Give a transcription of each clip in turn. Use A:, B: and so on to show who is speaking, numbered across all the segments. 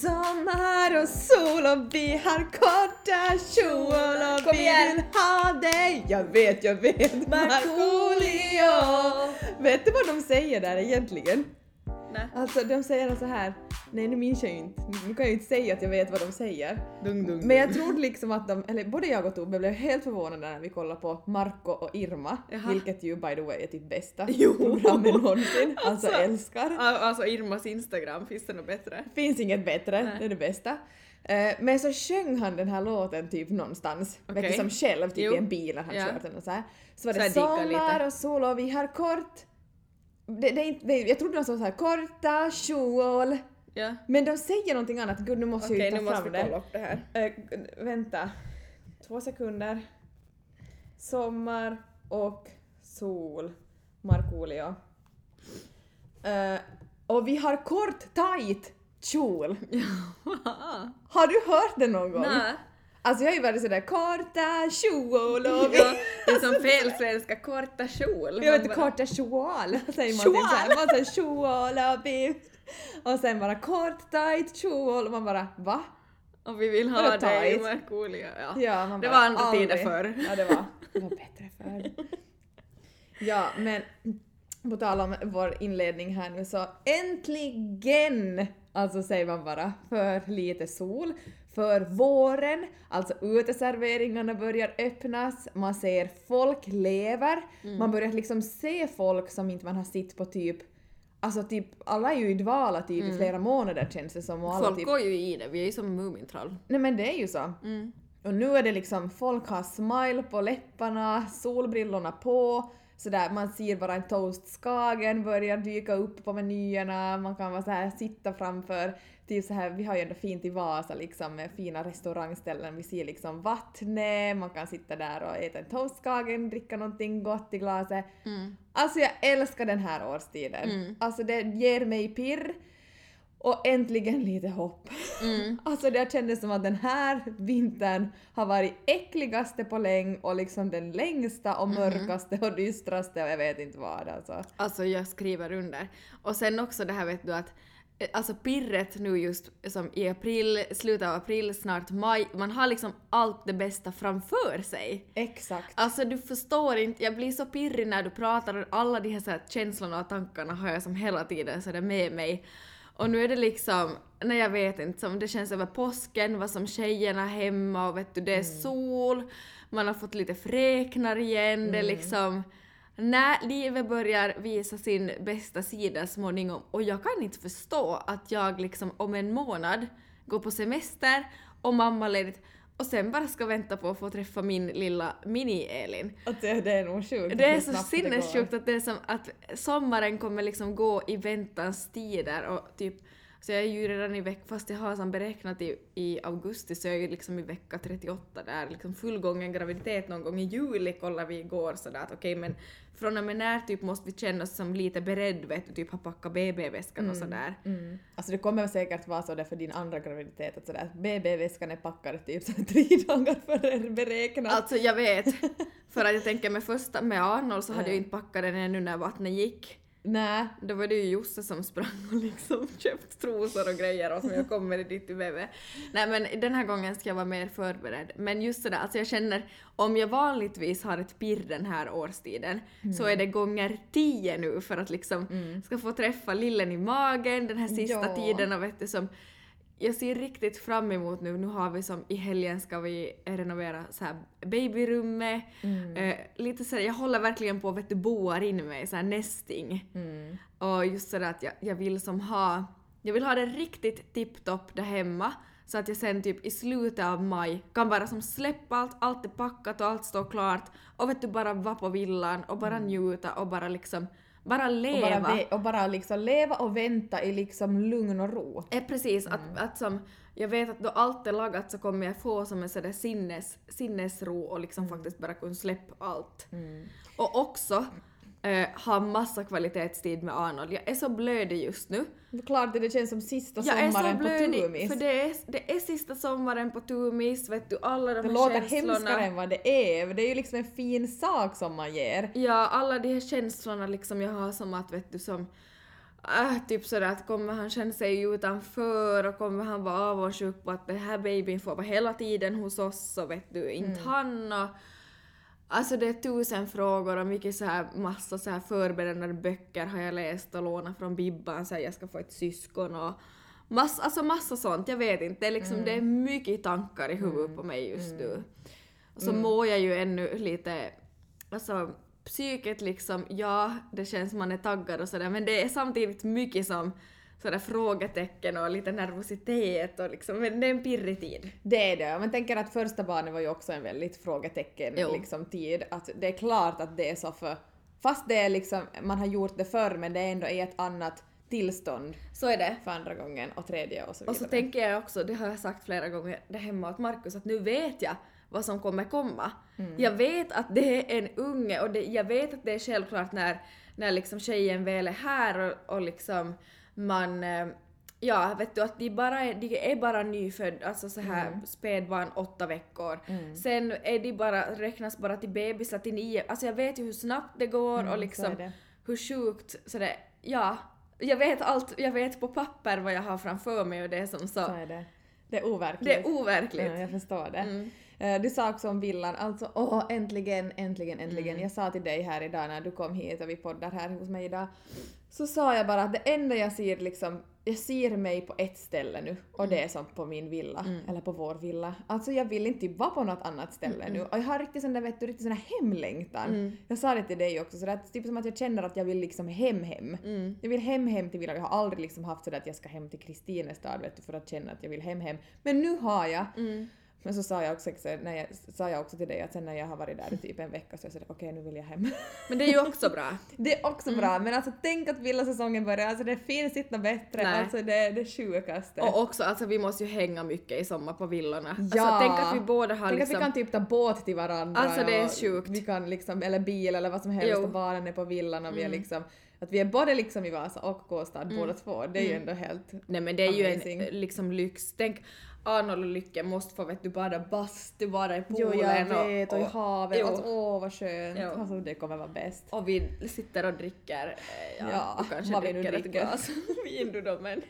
A: sommar och sol och vi har korta kjolar
B: Kom
A: och vi
B: igen.
A: vill ha dig Jag vet, jag vet Markoolio Vet du vad de säger där egentligen?
B: Nej.
A: Alltså de säger så här Nej nu minns jag ju inte, nu kan jag ju inte säga att jag vet vad de säger
B: Dung, dung,
A: Men jag trodde liksom att de, eller både jag och Tobbe blev helt förvånade när vi kollade på Marco och Irma
B: Jaha.
A: Vilket ju by the way är typ bästa
B: Jo.
A: programmet någonsin, alltså,
B: Alltså.
A: älskar
B: Al- Alltså Irmas Instagram, finns det något bättre?
A: finns inget bättre,
B: Nej.
A: det är det bästa. Eh, Men så sjöng han den här låten typ någonstans,
B: Okej.
A: vet du, som själv typ
B: Jo.
A: i en bil när han
B: Ja.
A: kört den och så här. Så var
B: Så
A: det
B: här digga lite.
A: sommar och sol och vi har kort... Det, det, är inte- det, jag trodde de sa så här korta kjol,
B: Ja.
A: men de säger någonting annat. Gud nu måste
B: Okej,
A: jag
B: nu
A: ju ta
B: måste
A: fram
B: vi
A: det.
B: kolla upp det här.
A: Eh, g- vänta. Två sekunder. Sommar och sol. Markoolio. Eh, och vi har kort tight kjol. Har du hört det någon gång?
B: Nej.
A: Alltså jag har ju varit sådär korta kjol och vi...
B: Ja, det är som fel svenska, korta kjol.
A: Jag vet
B: Man
A: inte,
B: bara-
A: korta kjol säger man
B: Kjol?
A: typ såhär. Man säger kjol och vi... Och sen bara kort tight kjol och man bara va?
B: Och vi vill ha
A: Vadå
B: dig
A: tight?
B: Markoolio. Ja.
A: Ja, man
B: Det
A: bara,
B: var andra
A: aldrig.
B: tider förr.
A: Ja, det var. Det var bättre förr. Ja, men på tal om vår inledning här nu så äntligen! Alltså säger man bara, för lite sol, för våren, alltså uteserveringarna börjar öppnas, man ser folk lever,
B: Mm.
A: man börjar liksom se folk som inte man har sett på typ Alltså typ, alla är ju i dvala typ i flera månader känns det som och alla
B: Mm. Folk
A: typ...
B: går ju i det, vi är ju som Mumintroll.
A: Nej men det är ju så.
B: Mm.
A: Och nu är det liksom, folk har smile på läpparna, solbrillorna på, sådär, man ser bara en toastskagen börjar dyka upp på menyerna, man kan vara så här sitta framför, typ så här, vi har ju ändå fint i Vasa liksom med fina restaurangställen, vi ser liksom vattnet, man kan sitta där och äta en toastskagen, dricka någonting gott i glaset.
B: Mm.
A: Alltså jag älskar den här årstiden.
B: Mm.
A: Alltså det ger mig pirr och äntligen lite hopp.
B: Mm.
A: Alltså det kändes som att den här vintern har varit äckligaste på länge och liksom den längsta
B: Mhm.
A: och mörkaste och dystraste och jag vet inte vad alltså.
B: Alltså jag skriver under. Och sen också det här vet du att eh, Alltså pirret nu just som i april, slutet av april, snart maj, man har liksom allt det bästa framför sig.
A: Exakt.
B: Alltså du förstår inte, jag blir så pirrig när du pratar och alla de här, så här känslorna och tankarna har jag som hela tiden så där med mig. Och nu är det liksom, nej jag vet inte, som det känns över påsken, vad som tjejerna hemma och vet du, det är sol, man har fått lite fräknar igen, det är liksom när livet börjar visa sin bästa sida småningom och jag kan inte förstå att jag liksom om en månad går på semester och mammaledigt och sen bara ska vänta på att få träffa min lilla mini-Elin.
A: Att det, det är nog sjukt.
B: Det är
A: hur
B: så
A: snabbt det
B: sinnessjukt att det är som att sommaren kommer liksom gå i väntans tider och typ så jag är ju redan i vecka, fast jag har som beräknat i, i augusti så jag är ju liksom i vecka 38 där, liksom fullgången graviditet någon gång i juli kollade vi igår sådär att okej men från och med när typ måste vi känna oss som lite beredd vet du, typ ha packat BB-väskan och sådär.
A: går. Mm. Alltså det kommer säkert vara så där för din andra graviditet att sådär BB-väskan är packad typ så här tre dagar före beräknat.
B: Alltså jag vet, för att jag tänker med första, med Arnold så hade jag
A: Mm.
B: inte packat den ännu när vattnet gick.
A: Nej.
B: Då var det ju Josse som sprang och liksom köpt trosor och grejer åt mig och kom med det dit till BB. Nej men den här gången ska jag vara mer förberedd. Men just sådär, alltså jag känner om jag vanligtvis har ett pirr den här årstiden så
A: Mm.
B: är det gånger tio nu för att liksom ska få träffa lillen i magen den här sista
A: Ja.
B: tiden och vet du som jag ser riktigt fram emot nu, nu har vi som i helgen ska vi renovera så här babyrummet.
A: Mm.
B: Eh, lite så här, jag håller verkligen på att boar in mig, så här nästing.
A: Mm.
B: Och just sådär att jag, jag vill som ha, jag vill ha det riktigt tipptopp där hemma så att jag sen typ i slutet av maj kan bara som släppa allt, allt är packat och allt står klart och vet du bara vara på villan och bara njuta och bara liksom, bara
A: Och
B: leva.
A: bara, ve- och bara liksom leva och vänta i liksom lugn och ro.
B: Eh, precis, att, att som, jag vet att då allt är lagat så kommer jag få som en sådär sinnes, sinnesro och liksom faktiskt bara kunna släppa allt. Och också eh, ha massa kvalitetstid med Arnold. Jag är så blödig just nu.
A: Klart det, det känns som sista
B: Jag är så
A: sommaren på
B: blödig
A: Tumis.
B: för det är, det är sista sommaren på Tumis, vet du alla de
A: Det
B: här
A: låter
B: känslorna.
A: hemskare än vad det är, det är ju liksom en fin sak som man ger.
B: Ja, alla de här känslorna liksom jag har som att vet du som Äh, typ sådär att kommer han känna sig utanför och kommer han vara avundsjuk på att den här babyn får vara hela tiden hos oss och vet du inte
A: Mm.
B: han och Alltså det är tusen frågor och mycket så här massa så här förberedande böcker har jag läst och lånat från Bibban så här, jag ska få ett syskon och massa, alltså massa sånt, jag vet inte. Det är liksom det är mycket tankar i huvudet på mig just nu. Och så mår jag ju ännu lite, alltså psyket liksom, ja det känns man är taggad och sådär men det är samtidigt mycket som sådär frågetecken och lite nervositet och liksom, men det är en pirrig tid.
A: Det är det. Man tänker att första barnet var ju också en väldigt frågetecken
B: Jo.
A: liksom, tid. Att det är klart att det är så för... Fast det är liksom, man har gjort det förr men det är ändå i ett annat tillstånd
B: Så är det.
A: för andra gången och tredje och så vidare.
B: Och så tänker jag också, det har jag sagt flera gånger där hemma åt Markus, att nu vet jag vad som kommer komma.
A: Mm.
B: Jag vet att det är en unge och det, jag vet att det är självklart när, när liksom tjejen väl är här och, och liksom man eh, Ja, vet du att de, bara är, de är bara nyfödd, alltså så här
A: Mm.
B: spädbarn åtta veckor. Sen är de bara, räknas bara till bebisar till nio, alltså jag vet ju hur snabbt det går
A: Mm,
B: och
A: så
B: liksom
A: är det.
B: hur sjukt så det, ja. Jag vet allt, jag vet på papper vad jag har framför mig och det är som
A: Så
B: så.
A: är det. Det är overkligt.
B: Det är overkligt.
A: Ja, jag förstår det.
B: Mm.
A: Eh, Du sa också om villan, alltså åh äntligen, äntligen, äntligen. Jag sa till dig här idag när du kom hit och vi poddar här hos mig idag, så sa jag bara att det enda jag ser liksom, jag ser mig på ett ställe nu och det är som på min villa, eller på vår villa. Alltså jag vill inte vara på något annat ställe nu och jag har riktigt sån där, vet du, riktigt sån här hemlängtan. Jag sa det till dig också, så det är typ som att jag känner att jag vill liksom hem
B: Mm.
A: hem. Jag vill hem hem till villan, jag har aldrig liksom haft sådär att jag ska hem till Kristinestad vet du, för att känna att jag vill hem hem. Men nu har jag
B: Mm.
A: men så sa jag också, när jag, sa jag också till dig att sen när jag har varit där i typ en vecka så jag sa okej nu vill jag hem.
B: Men det är ju också bra.
A: Det är också bra men alltså tänk att villasäsongen börjar, alltså det finns inte något bättre,
B: Nej.
A: alltså det är det sjukaste.
B: Och också alltså vi måste ju hänga mycket i sommar på villorna.
A: Ja.
B: Alltså tänk att vi båda har
A: Tänk
B: liksom...
A: att vi kan typ ta båt till varandra.
B: Alltså, det är
A: och
B: sjukt.
A: Vi kan liksom, eller bil eller vad som helst
B: Jo.
A: och barnen är på villan och vi är liksom, att vi är både liksom i Vasa och Kåstad båda två, det är ju ändå helt...
B: Nej men det är ju
A: Amazing.
B: en eh, liksom lyx. Tänk Arnold och Lycke måste få vet du bada bastu, bada i poolen
A: och, i havet,
B: Jo.
A: alltså, åh vad skönt,
B: Jo.
A: alltså det kommer vara bäst.
B: och vi sitter och dricker, eh, ja,
A: Ja,
B: du kanske
A: vad vi nu
B: dricker ett
A: dricker.
B: glas vin du då men,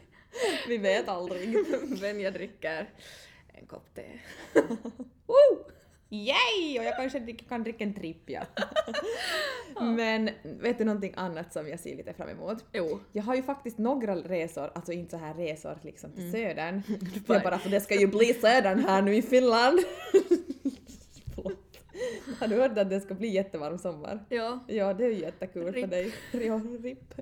A: Vi vet aldrig.
B: men jag dricker en kopp te.
A: Woo! Yay! Och jag kanske drick- kan dricka en tripp ja. Men vet du någonting annat som jag ser lite fram emot?
B: Jo.
A: Jag har ju faktiskt några resor, alltså inte så här resor liksom till södern. Jag bara för det ska ju bli södern här nu i Finland. Förlåt. har du hört att det ska bli jättevarm sommar?
B: Ja.
A: Ja, det är ju jättekul för
B: Ripp.
A: dig. Ja, ripp.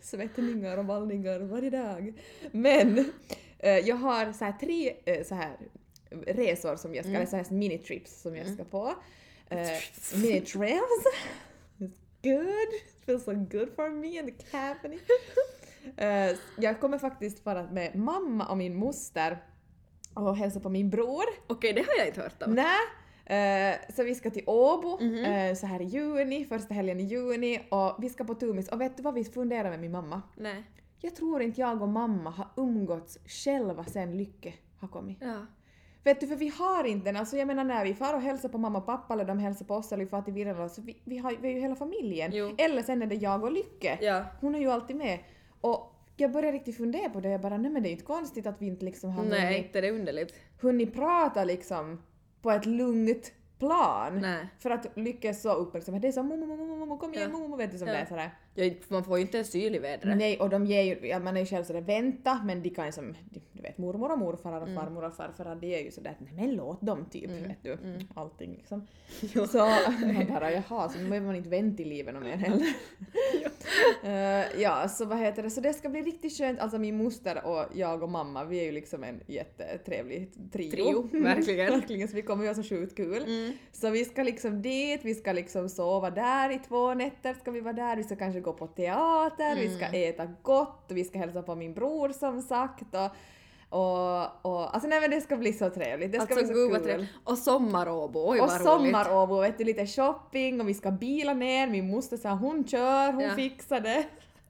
A: Svettningar och vallningar varje dag. Men eh, jag har så här tre eh, så här resor som jag ska, eller så här minitrips som jag ska på. Eh, minitrails. It's good. It feels so good for me and the company. Eh, jag kommer faktiskt vara med mamma och min moster och hälsa på min bror.
B: Okej, det har jag inte hört om.
A: Nej. Eh, så vi ska till Åbo
B: Mhm.
A: eh, så här i juni, första helgen i juni och vi ska på Tumis och vet du vad vi funderar med min mamma?
B: Nej.
A: Jag tror inte jag och mamma har umgåtts själva sen Lycke har kommit.
B: Ja.
A: Vet du, för vi har inte den. Alltså jag menar när vi far och hälsar på mamma och pappa eller de hälsar på oss eller vi far till Virrala så vi, vi, har, vi är ju hela familjen.
B: Jo.
A: Eller sen är det jag och Lycke.
B: Ja.
A: Hon är ju alltid med. Och jag började riktigt fundera på det jag bara nej men det är ju inte konstigt att vi inte liksom har
B: Nej,
A: hunnit-
B: inte det är underligt.
A: hunnit prata liksom på ett lugnt plan.
B: Nej.
A: För att lyckas så uppmärksamhet. Det är så mommo, mommo, mommo, kom igen
B: Ja.
A: mommo, vet du som
B: Ja.
A: det är sådär.
B: Jag, man får ju inte en syl i vädret.
A: Nej, och de ger ju, ja, man är ju själv sådär vänta, men de kan ju som, du vet mormor och morfar
B: Mm.
A: och farmor och farfar, de är ju sådär att nej men låt dem typ, vet du.
B: Mm.
A: Allting liksom. Så man bara jaha, så behöver man inte vänta i livet någon mer heller. Eh, ja, så vad heter det, så det ska bli riktigt skönt, alltså min moster och jag och mamma, vi är ju liksom en jättetrevlig trio.
B: Trio, verkligen.
A: verkligen, så vi kommer ju ha så sjukt kul.
B: Mm.
A: Så vi ska liksom dit, vi ska liksom sova där i två nätter, ska vi vara där, vi ska kanske gå på teater, vi ska
B: Mm.
A: äta gott, vi ska hälsa på min bror som sagt och, och, och alltså nej men det ska bli så trevligt, det ska
B: Alltså
A: bli
B: gud
A: så
B: vad
A: kul.
B: trevligt. Och sommaråbo, oj
A: Och
B: vad roligt.
A: sommar-Åbo, vet du, lite shopping och vi ska bila ner, min moster sa hon kör, hon
B: Ja.
A: fixar det.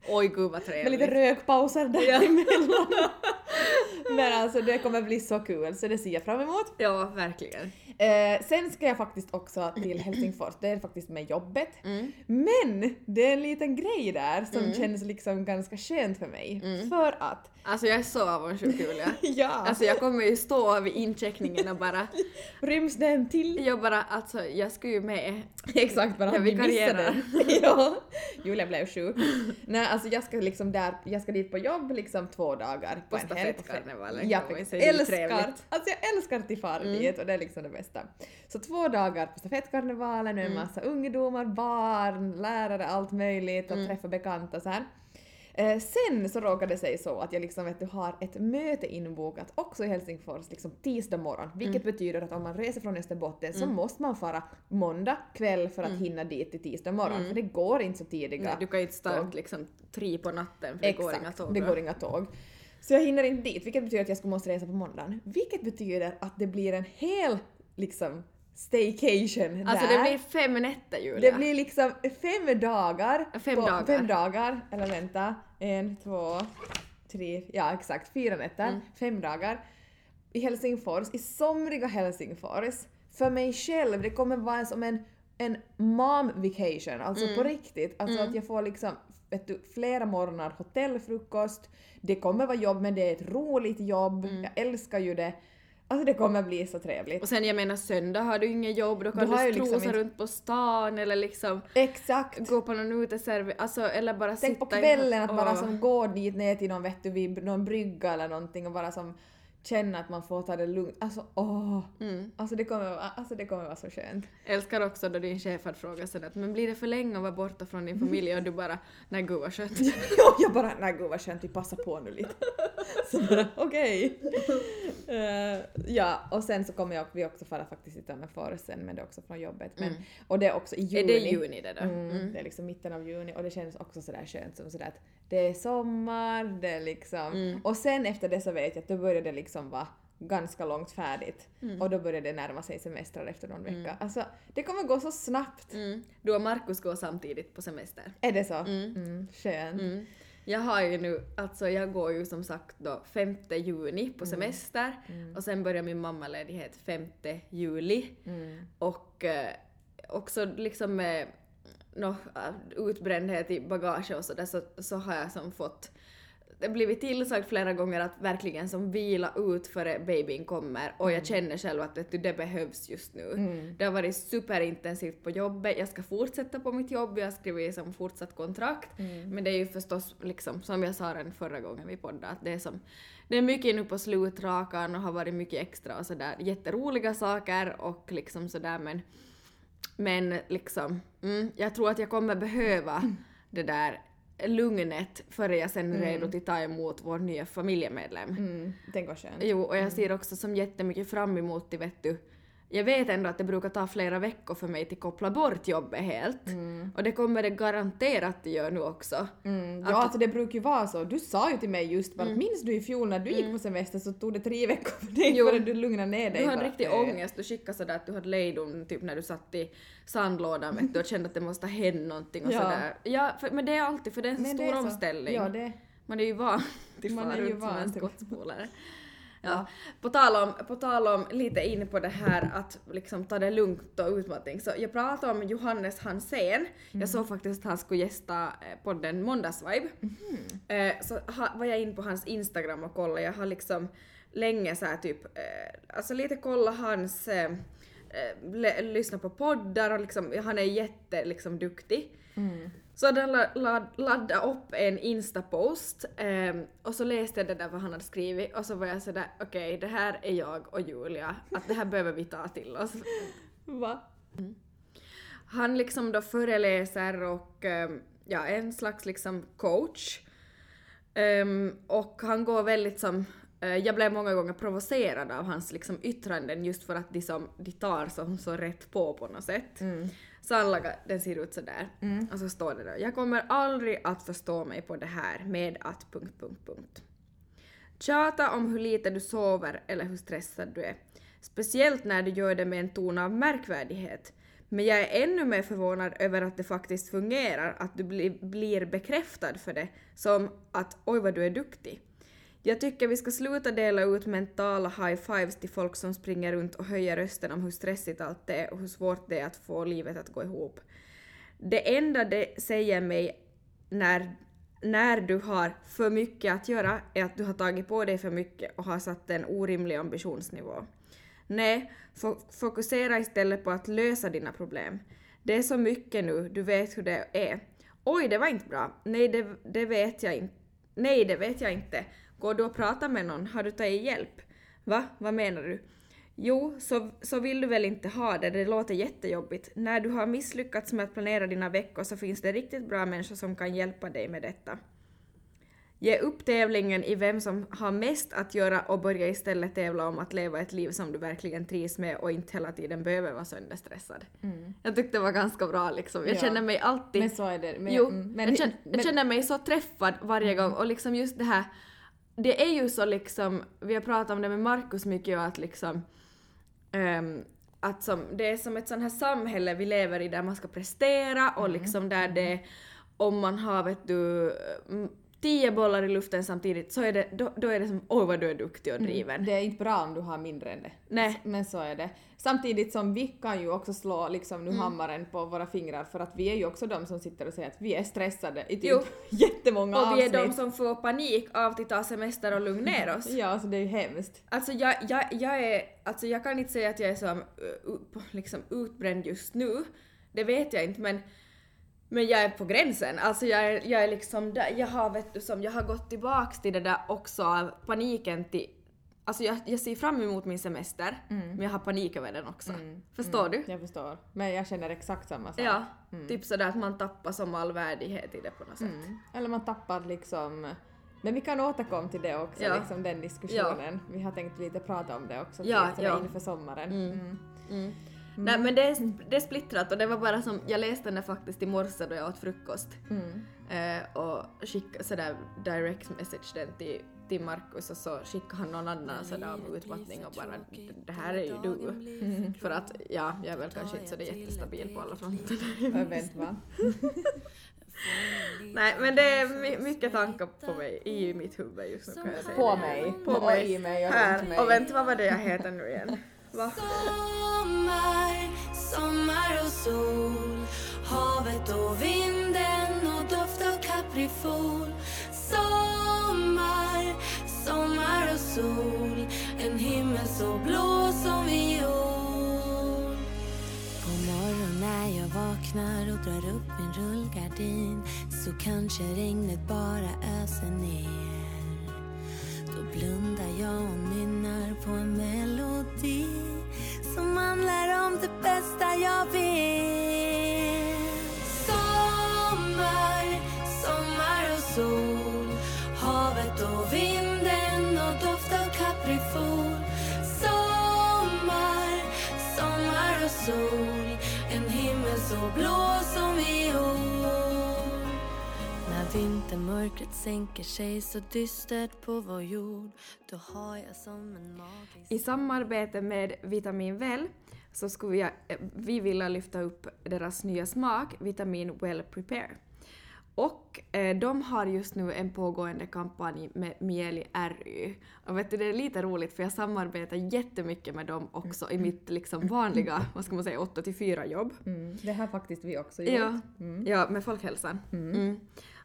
B: Oj gud vad
A: Med
B: trevligt.
A: lite rökpauser däremellan. Men alltså det kommer bli så kul så det ser jag fram emot.
B: Ja, verkligen.
A: Eh, sen ska jag faktiskt också till Helsingfors, det är faktiskt med jobbet.
B: Mm.
A: Men det är en liten grej där som känns liksom ganska skönt för mig. För att,
B: Alltså jag är så avundsjuk Julia.
A: ja,
B: Alltså jag kommer ju stå vid incheckningen och bara,
A: ryms den till?
B: jag bara alltså jag ska ju med.
A: Exakt, bara
B: Jag
A: vi missade
B: vikarierar.
A: den. ja. Julia blev sjuk. Nej, alltså jag ska liksom där, jag ska dit på jobb liksom två dagar.
B: På
A: en helg.
B: stafettkarnevalen
A: Ja,
B: kan man ju säga, det är
A: älskar,
B: trevligt.
A: alltså jag älskar att fara dit och det är liksom det bästa. Så två dagar på stafettkarnevalen med en massa ungdomar, barn, lärare, allt möjligt och träffa bekanta så här. Eh, sen så råkade det sig så att jag liksom vet du har ett möte inbokat också i Helsingfors liksom tisdag morgon, vilket betyder att om man reser från Österbotten så måste man fara måndag kväll för att hinna dit till tisdag morgon för det går inte så tidiga
B: Mm. Nej, du kan ju inte starta liksom tre på natten för det går inga tåg.
A: det
B: då.
A: går inga tåg. Så jag hinner inte dit, vilket betyder att jag ska måste resa på måndagen. Vilket betyder att det blir en hel liksom staycation
B: Alltså
A: där.
B: det blir fem nätter Julia.
A: det blir liksom fem dagar.
B: Fem dagar.
A: Fem dagar. Eller vänta. En, två, tre, ja exakt. Fyra nätter.
B: Mm.
A: Fem dagar. I Helsingfors, i somriga Helsingfors. För mig själv, det kommer vara som en, en mom vacation. Alltså
B: Mm.
A: på riktigt. Alltså att jag får liksom vet du, flera morgnar hotellfrukost. Det kommer vara jobb men det är ett roligt jobb. Jag älskar ju det. Alltså det kommer bli så trevligt.
B: Mm. Och sen jag menar söndag har du inget jobb,
A: Då
B: då kan
A: har
B: du,
A: jag
B: strosa
A: liksom inte-
B: runt på stan eller liksom
A: Exakt!
B: gå på någon uteservering, alltså eller bara
A: Tänk
B: sitta
A: på kvällen att bara
B: Åh.
A: som gå dit ner till någon, vet du, vid någon brygga eller någonting och bara som känna att man får ta det lugnt. Alltså åh!
B: Mm.
A: Alltså, det kommer, vara- alltså det kommer vara så skönt.
B: Älskar också då din chef hade frågat sådär att men blir det för länge att vara borta från din familj och du bara nej gud vad skönt.
A: Ja, jag bara nej gud vad skönt, vi passar på nu lite. Så bara okej. Eh, ja, och sen så kommer jag, vi också fara faktiskt till Tammerfors sen men det är också från jobbet. Men, Och det är också i
B: Mm. Är
A: juni.
B: det juni det då?
A: Mm, Det är liksom mitten av juni och det känns också sådär skönt som sådär att det är sommar, det är liksom...
B: Mm.
A: Och sen efter det så vet jag att då börjar det liksom vara ganska långt färdigt
B: Mm.
A: och då börjar det närma sig semestrar efter någon vecka. Alltså det kommer gå så snabbt.
B: Mm. Du och Markus går samtidigt på semester.
A: Är det så? Mm. skönt.
B: Mm. Jag har ju nu, alltså jag går ju som sagt då 5 juni på semester och sen börjar min mammaledighet 5 juli. Och eh, också liksom med nå, eh, utbrändhet i bagage och sådär så, så har jag som fått det har blivit tillsagt flera gånger att verkligen som vila ut före babyn kommer och jag känner själv att vet du, det behövs just nu. Det har varit superintensivt på jobbet, jag ska fortsätta på mitt jobb, jag har skrivit som fortsatt kontrakt. Men det är ju förstås liksom som jag sa den förra gången vi poddade att det är som det är mycket nu på slutrakan och har varit mycket extra och sådär jätteroliga saker och liksom sådär men men liksom, mm, jag tror att jag kommer
A: Mm.
B: behöva det där lugnet före jag sen är redo till att ta emot vår nya familjemedlem.
A: Mm. Tänk vad skönt.
B: Jo, och jag ser också som jättemycket fram emot det vet du. Jag vet ändå att det brukar ta flera veckor för mig att koppla bort jobbet helt. Och det kommer det garanterat att göra nu också.
A: Mm. Ja, alltså det brukar ju vara så. Du sa ju till mig just
B: Mm.
A: bara, minns du i fjol när du gick på semester så tog det tre veckor för dig
B: Jo.
A: förrän du lugnade ner dig.
B: Du hade
A: bara.
B: riktig ångest, du skickade sådär att du hade lejdom typ när du satt i sandlådan vet du och kände att det måste ha hänt någonting och
A: Ja.
B: sådär. Ja, för, men det är alltid för det är en så
A: Men det
B: stor
A: är så.
B: omställning.
A: Ja, det...
B: Man är ju van till
A: Man
B: fara
A: är ju
B: runt som
A: van
B: en
A: till-
B: skottspolare. Ja. På, tal om, på tal om lite in på det här att liksom ta det lugnt och utmattning så jag pratade om Johannes Hansén. Jag såg faktiskt att han skulle gästa eh, podden Måndagsvibe. Eh, Så ha, var jag in på hans Instagram och kollade. Jag har liksom länge så här typ, eh, alltså lite kolla hans, eh, eh, le- lyssna på poddar och liksom, han är jätte liksom duktig. Så den la, la, laddade upp en instapost ehm, och så läste jag det där vad han hade skrivit och så var jag sådär okej det här är jag och Julia, att det här behöver vi ta till oss.
A: Va?
B: Han liksom då föreläser och ehm, ja, är en slags liksom coach. Ehm, och han går väldigt som, eh, jag blev många gånger provocerad av hans liksom yttranden just för att de, som, de tar som så rätt på på något sätt. Så han lagar, den ser ut sådär. Och så står det då, jag kommer aldrig att förstå mig på det här med att... Punkt, punkt, punkt. Tjata om hur lite du sover eller hur stressad du är. Speciellt när du gör det med en ton av märkvärdighet. Men jag är ännu mer förvånad över att det faktiskt fungerar, att du bli, blir bekräftad för det som att oj vad du är duktig. Jag tycker vi ska sluta dela ut mentala high-fives till folk som springer runt och höjer rösten om hur stressigt allt är och hur svårt det är att få livet att gå ihop. Det enda det säger mig när, när du har för mycket att göra är att du har tagit på dig för mycket och har satt en orimlig ambitionsnivå. Nej, fo- fokusera istället på att lösa dina problem. Det är så mycket nu, du vet hur det är. Oj, det var inte bra. Nej, det, det vet jag inte. Nej, det vet jag inte. Går du och pratar med någon? Har du tagit hjälp? Va? Vad menar du? Jo, så, så vill du väl inte ha det, det låter jättejobbigt. När du har misslyckats med att planera dina veckor så finns det riktigt bra människor som kan hjälpa dig med detta. Ge upp tävlingen i vem som har mest att göra och börja istället tävla om att leva ett liv som du verkligen trivs med och inte hela tiden behöver vara sönderstressad.
A: Mm.
B: Jag tyckte det var ganska bra liksom. Jag
A: Ja.
B: känner mig alltid
A: Men så är det. Men,
B: jo,
A: mm,
B: jag, känner, jag känner mig så träffad varje gång och liksom just det här, det är ju så liksom, vi har pratat om det med Markus mycket och att liksom ehm, att som, det är som ett sånt här samhälle vi lever i där man ska prestera och
A: Mm.
B: liksom där det om man har vet du m- tio bollar i luften samtidigt så är det, då, då är det som oj vad du är duktig och
A: Mm.
B: driven.
A: Det är inte bra om du har mindre än det.
B: Nej.
A: Men så är det. Samtidigt som vi kan ju också slå liksom nu
B: Mm.
A: hammaren på våra fingrar för att vi är ju också de som sitter och säger att vi är stressade i typ
B: Jo.
A: jättemånga
B: Och vi är
A: avsnitt.
B: de som får panik av att ta semester och lugna ner oss.
A: Ja, så det är ju hemskt.
B: Alltså jag, jag, jag är, alltså jag kan inte säga att jag är som, eh, upp- liksom utbränd just nu, det vet jag inte men, men jag är på gränsen. Alltså jag är, jag är liksom där, jag har vet du som, jag har gått tillbaks till det där också av paniken till, alltså jag, jag ser fram emot min semester
A: Mm.
B: men jag har panik över den också. Förstår du?
A: Jag förstår. Men jag känner exakt samma sak.
B: Ja, typ sådär att man tappar som all värdighet i det på något sätt.
A: Mm. Eller man tappar liksom... Men vi kan återkomma till det också,
B: Ja.
A: liksom den diskussionen. Vi har tänkt lite prata om det också
B: Ja,
A: liksom,
B: ja.
A: inför sommaren. Mm.
B: Nej men det är, det är splittrat och det var bara som, jag läste den där faktiskt i morse då jag åt frukost.
A: Mm.
B: Eh, och skicka sådär direct message den till, till Markus och så skickade han någon annan sådär om utmattning och bara det här är ju du. För att ja, jag är väl kanske inte så det är jättestabil på alla fronter.
A: Jag vet vad.
B: Nej men det är my- mycket tankar på mig i mitt huvud just nu kan jag säga.
A: På mig.
B: På
A: och
B: mig.
A: i mig och runt mig.
B: Här. Och vänta vad var det jag heter nu igen? Va?
C: Sommar, sommar och sol Havet och vinden och doft av kaprifol Sommar, sommar och sol En himmel så blå som viol på morgonen när jag vaknar och drar upp min rullgardin så kanske regnet bara öser ner. Då blundar jag och nynnar på en melodi som handlar om det bästa jag vet. Sommar, sommar och sol Havet och vinden och doft av kaprifol Sommar, sommar och sol En himmel så blå som viol När vintermörkret sänker sig så dystert på vår jord Då har jag som en magisk
B: I samarbete med Vitamin Well så skulle jag, eh, vi vilja lyfta upp deras nya smak, Vitamin Well Prepare. Och eh, de har just nu en pågående kampanj med Mieli RY. Och vet du, det är lite roligt för jag samarbetar jättemycket med dem också i mitt liksom vanliga, vad ska man säga, 8 till 4 jobb.
A: Mm. Det har faktiskt vi också gjort.
B: Ja, ja med folkhälsan. Mm.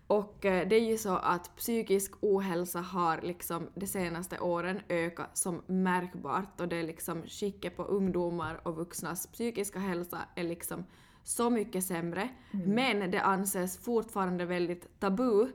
B: Och eh, det är ju så att psykisk ohälsa har liksom de senaste åren ökat som märkbart och det är liksom skicket på ungdomar och vuxnas psykiska hälsa är liksom så mycket sämre.
A: Mm.
B: Men det anses fortfarande väldigt tabu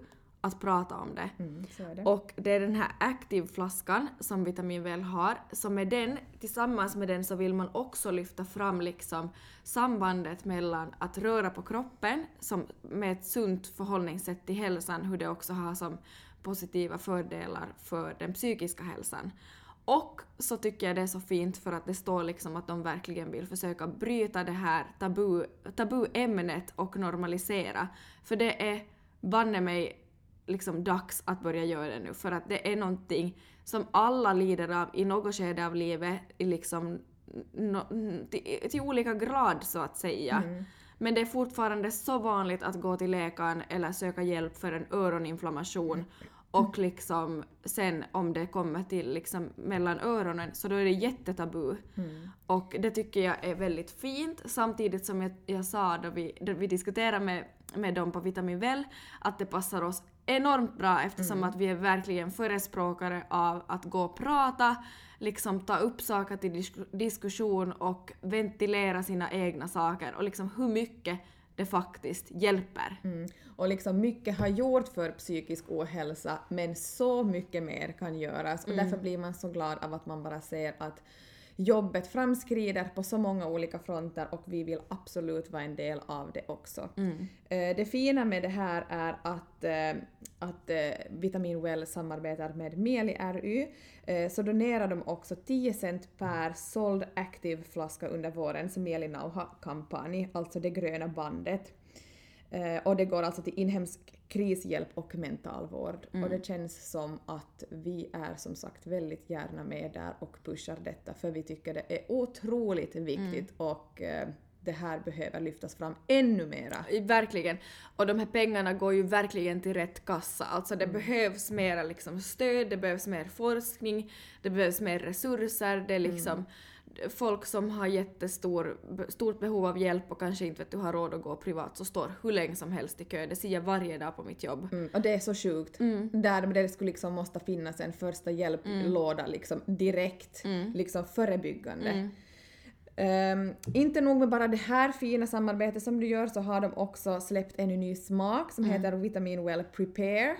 B: att prata om det.
A: Mm, så är det.
B: Och det är den här Active-flaskan som Vitamin väl har, som är den, tillsammans med den så vill man också lyfta fram liksom sambandet mellan att röra på kroppen som, med ett sunt förhållningssätt till hälsan, hur det också har som positiva fördelar för den psykiska hälsan. Och så tycker jag det är så fint för att det står liksom att de verkligen vill försöka bryta det här tabu, tabuämnet och normalisera. För det är banne mig liksom dags att börja göra det nu för att det är någonting som alla lider av i något skede av livet i liksom no, till, till olika grad så att säga. Men det är fortfarande så vanligt att gå till läkaren eller söka hjälp för en öroninflammation och liksom sen om det kommer till liksom mellan öronen så då är det jättetabu.
A: Mm.
B: Och det tycker jag är väldigt fint samtidigt som jag, jag sa då vi, då vi diskuterade med, med dem på Vitamin Well att det passar oss enormt bra eftersom att vi är verkligen förespråkare av att gå och prata, liksom ta upp saker till disk- diskussion och ventilera sina egna saker och liksom hur mycket det faktiskt hjälper.
A: Mm. Och liksom mycket har gjort för psykisk ohälsa men så mycket mer kan göras och därför blir man så glad av att man bara ser att jobbet framskrider på så många olika fronter och vi vill absolut vara en del av det också.
B: Mm.
A: Eh, Det fina med det här är att, eh, att eh, Vitamin Well samarbetar med Meli RY eh, så donerar de också 10 cent per såld aktiv flaska under vårens Meli Nauha-kampanj, alltså det gröna bandet. Eh, och det går alltså till inhemsk krishjälp och mentalvård. Och det känns som att vi är som sagt väldigt gärna med där och pushar detta för vi tycker det är otroligt viktigt och eh, det här behöver lyftas fram ännu mera.
B: Verkligen. Och de här pengarna går ju verkligen till rätt kassa. Alltså
A: Mm.
B: det behövs mera liksom stöd, det behövs mer forskning, det behövs mer resurser,
A: Mm.
B: det är liksom folk som har jättestort behov av hjälp och kanske inte vet du har råd att gå privat så står hur länge som helst i kö. Det ser jag varje dag på mitt jobb.
A: Mm, och det är så sjukt. Där det skulle liksom måste finnas en första hjälplåda liksom direkt, liksom förebyggande. Ehm, inte nog med bara det här fina samarbetet som du gör så har de också släppt en ny smak som heter Vitamin Well Prepare.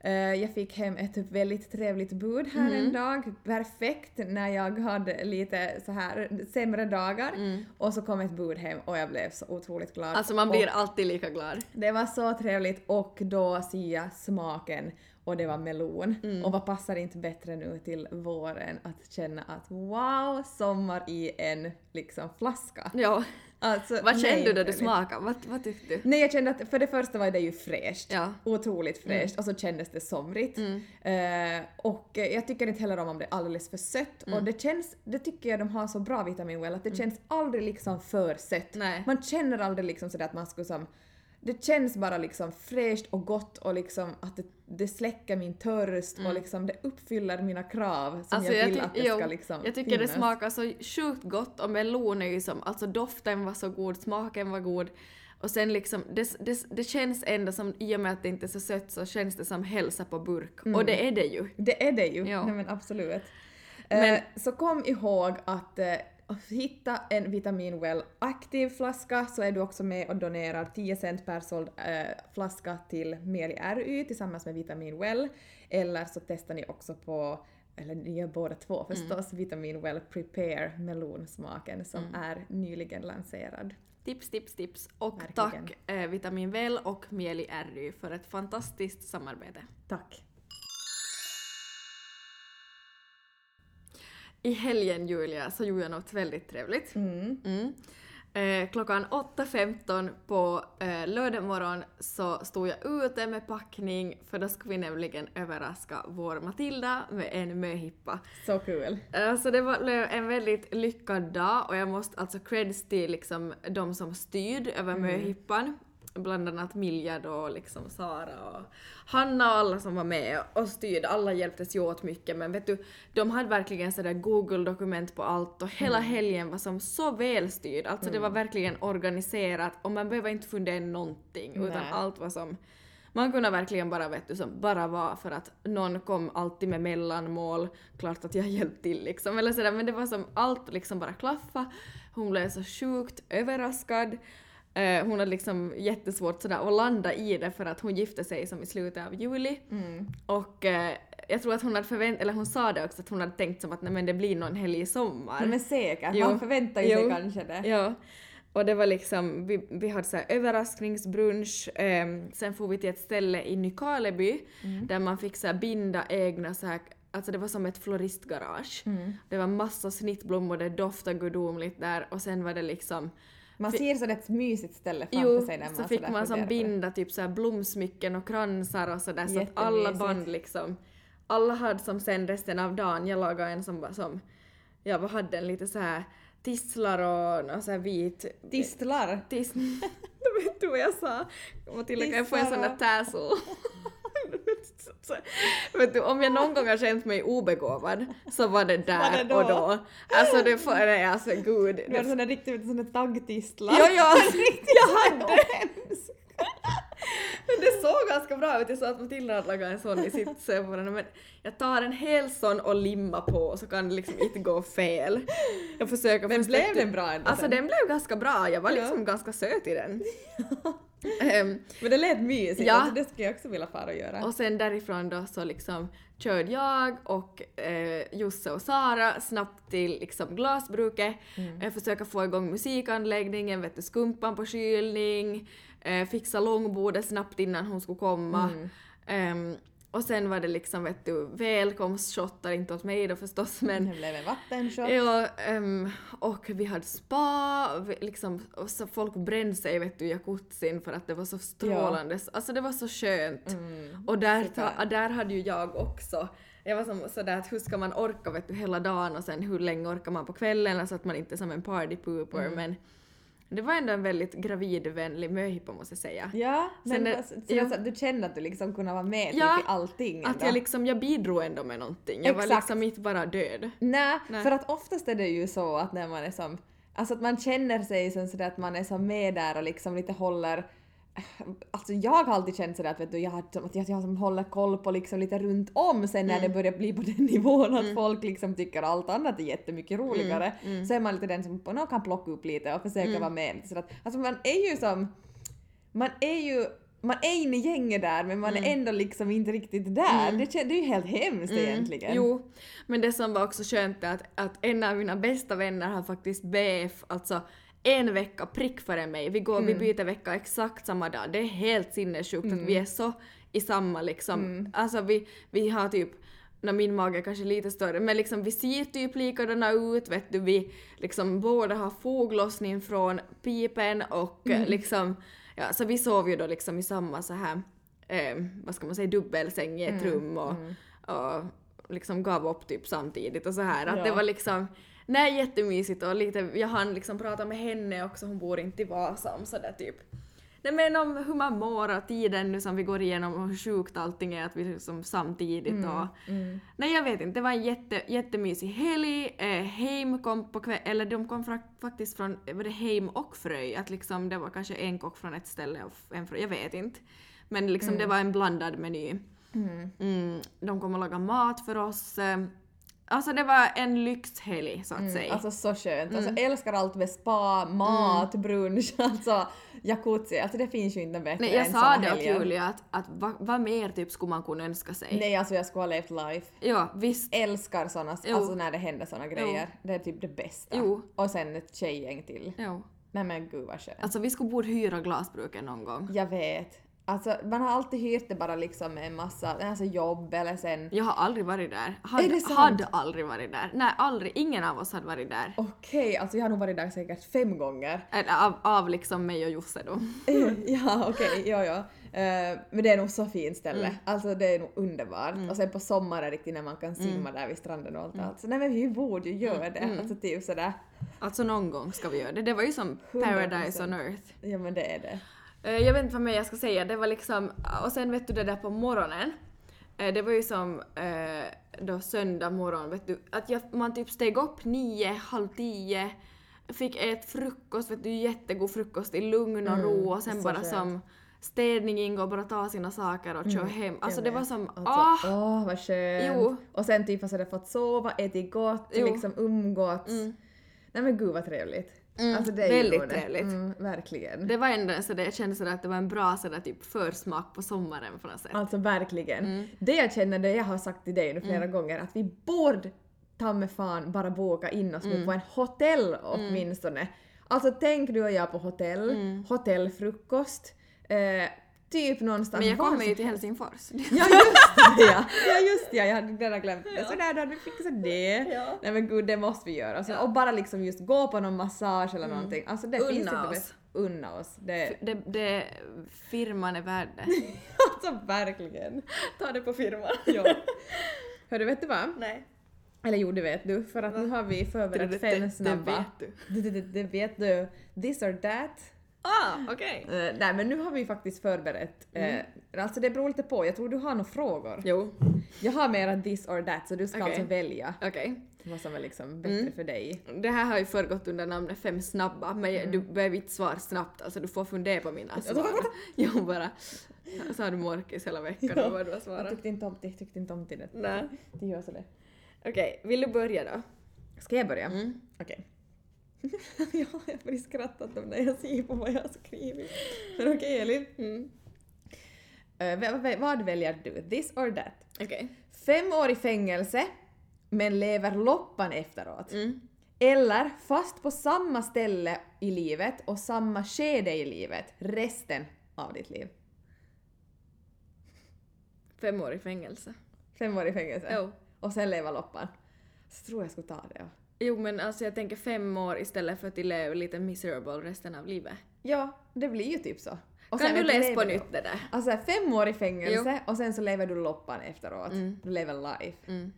A: Eh, jag fick hem ett väldigt trevligt bud här en dag, perfekt när jag hade lite så här sämre dagar. Och så kom ett bud hem och jag blev så otroligt glad.
B: Alltså man
A: Och-
B: blir alltid lika glad.
A: det var så trevligt och då ser jag smaken och det var melon.
B: Mm.
A: Och vad passar inte bättre nu till våren att känna att wow, sommar i en liksom flaska.
B: Ja.
A: Alltså,
B: Vad kände
A: nej,
B: du när du
A: trevligt.
B: smakade? Vad, vad tyckte du?
A: Nej jag kände att för det första var det ju fräscht.
B: Ja. Mm.
A: Otroligt fräscht och så kändes det somrigt. Eh, och eh, jag tycker inte heller om om det är alldeles för sött
B: Mm.
A: och det känns, det tycker jag de har så bra vitamin well, att det känns aldrig liksom för sött.
B: Nej.
A: Man känner aldrig liksom sådär att man skulle som det känns bara liksom fräscht och gott och liksom att det, det släcker min törst
B: Mm.
A: och liksom det uppfyller mina krav som jag vill
B: tyck-
A: att det ska
B: Alltså, jo,
A: liksom
B: Jag tycker det
A: finnas.
B: smakar så sjukt gott och melon är ju som, alltså doften var så god, smaken var god. Och sen liksom, det, det, det känns ändå som, i och med att det inte är så sött så känns det som hälsa på burk.
A: Mm.
B: Och det är det ju.
A: Det är det ju,
B: Ja.
A: Nej, men absolut.
B: Men-
A: Eh, så kom ihåg att eh, hitta en Vitamin Well aktiv flaska så är du också med och donerar 10 cent per såld eh, flaska till Meli RY tillsammans med Vitamin Well. Eller så testar ni också på eller ni gör båda två
B: Mm.
A: förstås, Vitamin Well Prepare melonsmaken som
B: Mm.
A: är nyligen lanserad.
B: Tips, tips, tips. Och
A: Verkligen.
B: tack eh, Vitamin Well och Mieli RY för ett fantastiskt samarbete.
A: Tack!
B: I helgen Julia så gjorde jag något väldigt trevligt. Mm. Eh, klockan 8.15 på eh, lördag morgon så stod jag ute med packning för då skulle vi nämligen överraska vår Matilda med en möhippa.
A: Så kul!
B: Alltså det var blev en väldigt lyckad dag och jag måste alltså creds till liksom de som styrde över möhippan. Bland annat Milja då och liksom Sara och Hanna och alla som var med och styrde. Alla hjälptes ju åt mycket men vet du, de hade verkligen sådär Google-dokument på allt och hela helgen var som så välstyrd. Alltså det var verkligen organiserat och man behöver inte fundera någonting utan
A: Nej.
B: allt var som man kunde verkligen bara vet du, som bara vara för att någon kom alltid med mellanmål, klart att jag hjälpte till liksom eller sådär men det var som allt liksom bara klaffa. Hon blev så sjukt överraskad. Eh, hon hade liksom jättesvårt sådär att landa i det för att hon gifte sig som i slutet av juli och eh, jag tror att hon hade förväntat, eller hon sa det också att hon hade tänkt som att nej men det blir någon helg i sommar.
A: Men säkert,
B: Jo.
A: man förväntar ju sig
B: Jo.
A: kanske det.
B: Ja. Och det var liksom, vi, vi hade så här överraskningsbrunch, ehm, sen for vi till ett ställe i Nykarleby
A: Mm.
B: där man fick så här binda egna så här, alltså det var som ett floristgarage.
A: Mm.
B: Det var massa snittblommor, det doftade gudomligt där och sen var det liksom
A: Man ser så det är ett mysigt ställe framför
B: Jo,
A: sig när man
B: så fick
A: sådär
B: man som
A: funderar på det.
B: binda typ så här blomsmycken och kransar och sådär så att alla
A: Jättemysigt.
B: band liksom alla hade som sen resten av dagen, jag lagade en som var som, jag bara hade en lite så här tisslar och, och så här vit
A: Distlar!
B: Tis... du vet du vad jag sa? Matilda kan jag få en sån där tassel? Så, Vet du, om jag någon gång har känt mig obegåvad så var det där
A: Var det då?
B: och då. Alltså det får, nej alltså gud.
A: Du hade
B: Det,
A: såna riktigt såna taggtistlar.
B: ja, ja, jag hade.
A: hemskt.
B: Men det såg ganska bra ut. Jag sa att Matilda hade lagat en sån i sitt Sephora. Men jag tar en hel sån och limmar på så kan det liksom inte gå fel. Jag försöker
A: Men
B: förstå-
A: blev den bra ändå
B: Alltså
A: sen?
B: den blev ganska bra. Jag var
A: Ja.
B: liksom ganska söt i den. Ehm,
A: Men det lät mysigt,
B: Ja.
A: alltså, det skulle jag också vilja fara och göra.
B: Och sen därifrån då så liksom körde jag och eh, Josse och Sara snabbt till liksom glasbruket. Eh, försöka få igång musikanläggningen, vet du, skumpan på kylning, eh, fixa långbordet snabbt innan hon skulle komma. Ehm, och sen var det liksom vet du välkomstshotar, inte åt mig då förstås men
A: Det blev en vattenshot.
B: Ja, ehm, och vi hade spa, vi, liksom, och så folk brände sig vet du, i jacuzzin för att det var så strålande. Alltså det var så skönt. och där, ta,
A: super.
B: där hade ju jag också. Jag var som sådär att hur ska man orka vet du, hela dagen och sen hur länge orkar man på kvällen? Alltså att man inte är som en party pooper men det var ändå en väldigt gravidvänlig möhippa måste jag säga.
A: Ja, men
B: Sen det-
A: alltså, så
B: ja.
A: alltså, du kände att du liksom kunde vara med
B: Ja,
A: typ i allting
B: Att
A: ändå.
B: jag liksom, jag bidrog ändå med någonting. Jag var
A: Exakt.
B: liksom inte bara död.
A: Nej,
B: Nej.
A: för att oftast är det ju så att när man är som, alltså att man känner sig som sådär att man är som med där och liksom lite håller Alltså jag har alltid känt sådär att, vet du, jag, har, som- att jag, jag som håller koll på liksom lite runt om sen när
B: Mm.
A: det börjar bli på den nivån att folk liksom tycker allt annat är jättemycket
B: Mm,
A: roligare så är man lite den som på något kan plocka upp lite och försöka
B: Mm.
A: vara med. lite Så att, alltså man är ju som, man är ju man är inne i gänget där men man
B: Mm.
A: är ändå liksom inte riktigt där. Det, kän- det är ju helt hemskt egentligen.
B: Jo, men det som var också skönt är att, att en av mina bästa vänner har faktiskt BF, alltså en vecka prick före mig. Vi, går, vi byter vecka exakt samma dag. Det är helt sinnessjukt att vi är så i samma liksom. Alltså vi, vi har typ när min mage är kanske lite större, men liksom vi ser typ likadana ut, vet du, vi liksom båda har foglossning från pipen och eh, liksom, ja, så vi sov ju då liksom i samma så här, eh, vad ska man säga, dubbelsäng i ett rum och, och liksom gav upp typ samtidigt och så här. Att
A: Ja.
B: det var liksom, nej jättemysigt och lite, jag hann liksom prata med henne också, hon bor inte i Vasa om sådär typ. Nej men om hur man mår och tiden nu som vi går igenom och hur sjukt allting är att vi liksom samtidigt och...
A: Mm.
B: Nej jag vet inte, det var en jätte, jättemysig helg. Eh, Heim kom på kväll, eller de kom fra, faktiskt från både Heim och Fröj. Att liksom det var kanske en kock från ett ställe och f- en från, jag vet inte. Men liksom
A: Mm.
B: det var en blandad meny. Mm, de kom och lagade mat för oss. Eh, Alltså det var en lyxhelg så att säga. Mm.
A: Alltså så skönt. Alltså jag älskar allt med spa, mat, brunch, alltså jacuzzi. Alltså det finns ju inte bättre
B: Nej, jag
A: än
B: sa
A: såna
B: det åt
A: helger.
B: Julia att, att vad, vad mer typ skulle man kunna önska sig?
A: Nej alltså jag skulle ha levt life.
B: Ja, visst.
A: Älskar såna,
B: Jo.
A: alltså när det händer såna grejer. Det är typ det bästa.
B: Jo.
A: Och sen ett tjejgäng till.
B: Jo.
A: Nej men gud vad skönt.
B: Alltså vi skulle borde hyra glasbruken någon gång.
A: Jag vet. Alltså man har alltid hyrt det bara liksom med en massa alltså jobb eller sen
B: Jag har aldrig varit där.
A: Är
B: Hade,
A: det sant?
B: hade aldrig varit där. Nej, aldrig. Ingen av oss hade varit där.
A: Okej, alltså jag har nog varit där säkert fem gånger.
B: Eller av, av liksom mig och Josse då.
A: ja, okej, ja, ja. Eh, men det är nog så fint ställe.
B: Mm.
A: Alltså det är nog underbart. Och sen på sommaren riktigt när man kan
B: Mm.
A: simma där vid stranden och allt. Alltså, nej men vi borde ju göra det. Alltså typ sådär.
B: Alltså någon gång ska vi göra det. Det var ju som
A: 100%.
B: paradise on earth.
A: Ja men det är det.
B: Eh, Jag vet inte vad mer jag ska säga, det var liksom... Och sen vet du det där på morgonen. eh, Det var ju som eh, då söndag morgon, vet du. Att jag, man typ steg upp nio, halv tio. Fick ät frukost, vet du, jättegod frukost i lugn och ro och sen
A: Mm, så
B: bara
A: skönt. Mm,
B: som städning ingår, bara ta sina saker och köra hem. Alltså
A: jag
B: det var
A: vet.
B: som ah!
A: Alltså, Åh vad skönt!
B: Jo.
A: Och sen typ har sådär fått sova, ätit gott,
B: Jo.
A: liksom umgåtts. Nej men gud vad trevligt.
B: Mm,
A: Alltså det är ju
B: väldigt
A: roligt.
B: trevligt.
A: Mm, verkligen.
B: Det var ändå så det, jag kände sådär att det var en bra sådär typ försmak på sommaren på något sätt.
A: Alltså verkligen.
B: Mm.
A: Det jag känner, det jag har sagt till dig nu flera gånger, att vi borde ta med fan bara boka in oss
B: Mm.
A: nu på en hotell åtminstone. Alltså tänk du och jag på hotell,
B: Mm.
A: hotellfrukost, eh, typ någonstans
B: Men jag
A: var
B: kommer
A: som
B: ju till
A: helst.
B: Helsingfors.
A: Ja just det ja! ja just det, jag hade redan glömt det. Sådär, då hade vi fixat det.
B: Ja.
A: Nej men gud, det måste vi göra. Så, Och bara liksom just gå på någon massage eller någonting. Alltså det
B: Mm. Unna
A: finns inte
B: oss.
A: bäst. Unna oss. Det,
B: Det, det firman är värd det.
A: alltså verkligen.
B: Ta det på firman.
A: Ja. Hörru, vet du vad?
B: Nej.
A: Eller jo, det vet du, för
B: Mm.
A: att nu har vi förberett fem snabba.
B: du.
A: Det, det, det, det vet du. This or that.
B: Ah, okej.
A: Eh, nej men nu har vi faktiskt förberett. Eh,
B: Mm.
A: Alltså det beror lite på, jag tror du har några frågor.
B: Jo.
A: Jag har mera this or that så du ska
B: Okej.
A: alltså välja
B: Okej. Mm.
A: vad som är liksom bättre för dig.
B: Det här har ju förgått under namnet fem snabba men jag- du behöver inte svara snabbt alltså du får fundera på mina svar. Jo bara. Så har du morkis hela veckan
A: Ja.
B: och vad du har
A: Jag
B: svarat.
A: tyckte inte om det, jag tyckte inte om det.
B: Nej.
A: Det gör så det.
B: Okej, vill du börja då?
A: Ska jag börja?
B: Mm.
A: Okej. ja, jag blir skrattat om när jag ser på vad jag har skrivit. Men okej Elin.
B: Mm.
A: Eh, vad- vad- vad väljer du? This or that?
B: Okej.
A: Fem år i fängelse men lever loppan efteråt.
B: Mm.
A: Eller fast på samma ställe i livet och samma skede i livet resten av ditt liv.
B: Fem år i fängelse.
A: Fem år i fängelse.
B: Jo.
A: Och sen leva loppan. Så tror jag skulle ta det. ja.
B: Jo men alltså jag tänker fem år istället för att jag lever lite miserable resten av livet.
A: Ja, det blir ju typ så. Och
B: kan
A: sen
B: du
A: vet
B: läsa på
A: lever du-
B: nytt det där?
A: Alltså fem år i fängelse och sen så lever du loppan efteråt. Du lever life.
B: Mm.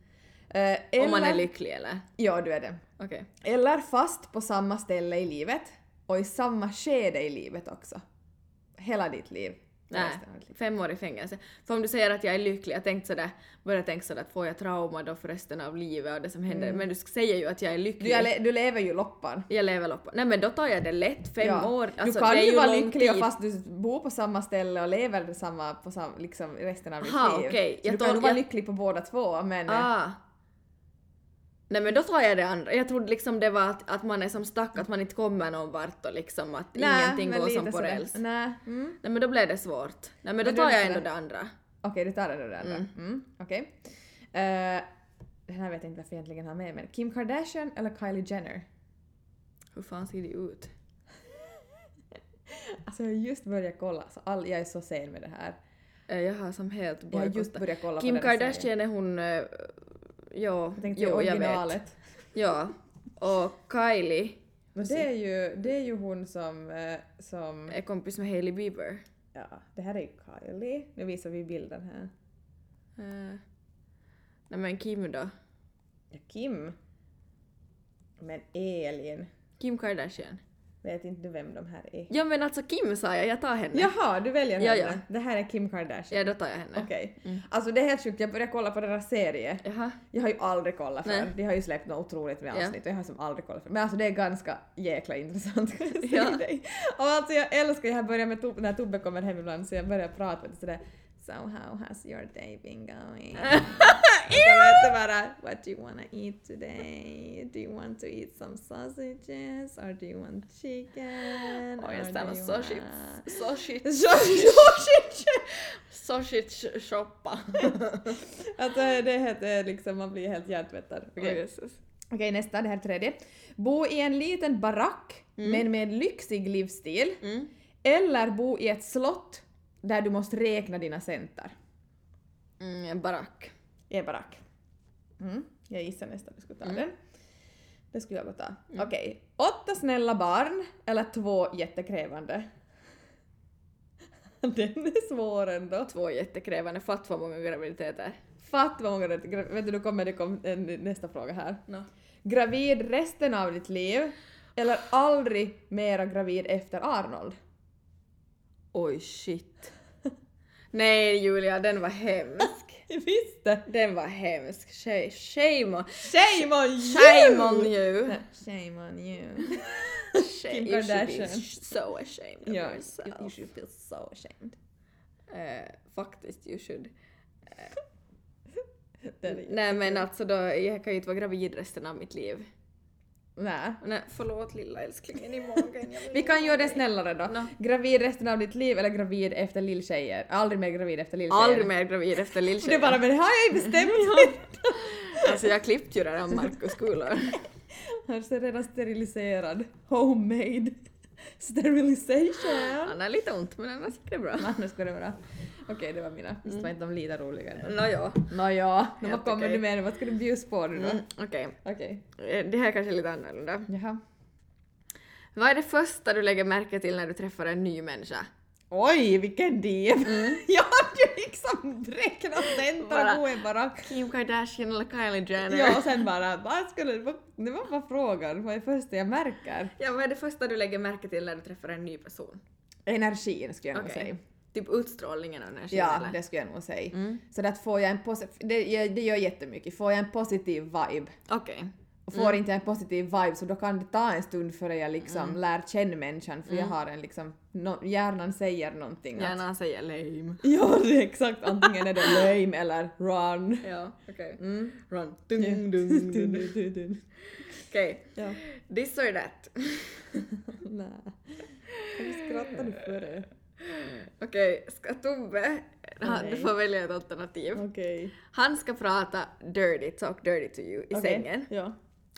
A: Eh, eller,
B: Om man är lycklig eller?
A: Ja, du är det.
B: Okej.
A: Eller fast på samma ställe i livet och i samma skede i livet också. Hela ditt liv.
B: Nej,
A: Resten av ditt liv.
B: fem år i fängelse. För om du säger att jag är lycklig, jag tänkte sådär, började tänka sådär att får jag trauma då för resten av livet och det som händer. Men du säger ju att jag är
A: Mm. Du,
B: lycklig.
A: jag le- du lever ju loppan.
B: jag lever loppan. Nej men då tar jag det lätt, fem
A: Ja.
B: år. Alltså,
A: du kan
B: det är
A: ju vara
B: lång
A: lycklig och
B: tid.
A: fast du bor på samma ställe och lever samma, på samma, liksom resten av ditt
B: Aha,
A: liv.
B: okej.
A: Så
B: Jag
A: du kan
B: tol-
A: nog vara
B: jag-
A: lycklig på båda två men... eh,
B: Ah. Nej men då tar jag det andra. Jag trodde liksom det var att, att man är som stack, att man inte kommer någon vart och liksom att
A: nej,
B: ingenting
A: men
B: går
A: lite
B: som på
A: sådär.
B: räls. Nej.
A: Nej. Mm.
B: men då blev det svårt. Nej men då
A: Men du är
B: tar jag
A: lite
B: ändå
A: sådär-
B: det andra.
A: Okej, du tar den och den andra.
B: Mm.
A: Mm, Okej. Eh, det här vet jag inte varför jag egentligen har med men Kim Kardashian eller Kylie Jenner?
B: Hur fan ser det ut?
A: Alltså jag har just börjat kolla, så all, jag är så sen med det här.
B: Eh, Jag har som helt
A: Jag har just
B: bojkottat.
A: börjat kolla
B: Kim
A: på den här serien.
B: Kardashian är hon... eh, Ja,
A: Jag tänkte
B: jo, jag vet.
A: originalet.
B: Ja. Och Kylie
A: Men det är ju, det är ju hon som, eh, som...
B: är kompis med Hailey Bieber.
A: Ja, det här är ju Kylie. Nu visar vi bilden här.
B: Eh, nej men Kim då.
A: Ja, Kim. Men Elin.
B: Kim Kardashian.
A: Vet inte du vem de här är?
B: Ja men alltså Kim sa jag, jag tar henne.
A: Jaha, du väljer
B: Ja,
A: henne.
B: ja.
A: Det här är Kim Kardashian.
B: Ja, då tar jag henne.
A: Okej.
B: Mm.
A: Alltså det är helt sjukt, jag började kolla på deras serie.
B: Jaha.
A: Jag har ju aldrig kollat
B: Nej.
A: för. De har ju släppt något otroligt med
B: Ja.
A: avsnitt och jag har som aldrig kollat för. Men alltså det är ganska jäkla intressant kan jag säga
B: Ja.
A: dig. Och alltså jag älskar, jag har börjat med Tobbe, när Tobbe kommer hem ibland så jag börjar prata med det sådär So how has your day been going? Och så vet du bara What do you wanna eat today? Do you want to eat some sausages? Or do you want chicken?
B: Oj,
A: Or
B: jag
A: do
B: stannar
A: you
B: så shit.
A: wanna-"
B: Så shit.
A: Sausages!
B: Så shit shoppa.
A: Alltså det heter liksom, man blir helt hjärntvättad.
B: Oh,
A: Okej. Okej, nästa, det här tredje. Bo i en liten barack men med en lyxig livsstil.
B: Mm.
A: Eller bo i ett slott där du måste räkna dina centar.
B: Mm, en barack.
A: I en barack. Mm. Jag gissar nästan du skulle ta den. Det skulle jag gå ta. Okej. Åtta snälla barn eller två jättekrävande? Den är svår ändå.
B: Två jättekrävande, fatt vad många graviditeter.
A: Fatt vad många... Vet du, nu kommer det kom en, nästa fråga här.
B: No.
A: gravid resten av ditt liv eller aldrig mera gravid efter Arnold?
B: Oj shit. Nej Julia, den var hemsk.
A: Visst det!
B: Den var hemsk. Shame, shame on,
A: Shame on you!
B: shame on you.
A: Shame on you.
B: Shame,
A: Kim
B: you should be
A: Kardashian.
B: so ashamed of
A: ja, you, you
B: yourself.
A: should feel so ashamed.
B: Eh, faktiskt, you should.
A: Den är-
B: Nej men alltså då, jag kan ju inte vara gravid resten av mitt liv.
A: Nä.
B: Nej, förlåt lilla älsklingen i magen. jag vill
A: Vi kan
B: inte
A: göra det
B: vara med.
A: snällare då.
B: Nå.
A: Gravid resten av ditt liv eller gravid efter lilltjejer? Aldrig mer gravid efter lilltjejer.
B: Aldrig mer gravid efter
A: Det är
B: lilltjejen.
A: bara men det har jag ju bestämt!
B: Alltså jag klippte ju det där Markus kulor.
A: Hörs jag redan steriliserad. Homemade. Sterilization!
B: Han är lite ont men annars gick det bra.
A: Annars går det bra. Okej, det var mina. Visst var inte de lite roliga ändå?
B: Nåja.
A: Nåja, no, vad
B: Mm. Helt
A: kommer
B: okej.
A: du med nu? Vad ska du bjussa på nu då?
B: Mm, Okej,
A: Okej.
B: Eh, det här är kanske är lite annorlunda.
A: Jaha.
B: Vad är det första du lägger märke till när du träffar en ny människa?
A: Oj, vilken div! jag hade ju liksom bräkna
B: Mm. Bara-
A: tentan och gå bara.
B: Kim Kardashian eller Kylie Jenner.
A: Ja, och sen bara, vad skulle, vad, det var bara frågan, vad är det första jag märker?
B: Ja, vad är det första du lägger märke till när du träffar en ny person?
A: Energin skulle jag nog
B: Okej.
A: säga.
B: Typ utstrålningen av energin
A: Ja,
B: eller?
A: det skulle jag nog säga.
B: Mm.
A: Så att får jag en posi- det, gör- det gör jättemycket, får jag en positiv vibe
B: Okej.
A: och
B: Mm.
A: får inte jag en positiv vibe så då kan det ta en stund före jag liksom
B: Mm.
A: lär känna människan för jag har en liksom, no, hjärnan säger någonting att-
B: Gärna säger lame.
A: Ja, det är exakt. Antingen är det lame eller run.
B: Ja, okej.
A: Mm.
B: Run.
A: Dun, dun, dun, dun.
B: Okej.
A: Ja.
B: This or that.
A: Nej. Varför skrattar du för det?
B: Okej, ska Tobbe... Han, du
A: Nej. Mm.
B: får välja ett alternativ.
A: Okej.
B: Han ska prata dirty, talk dirty to you i
A: Okej.
B: sängen.
A: Ja.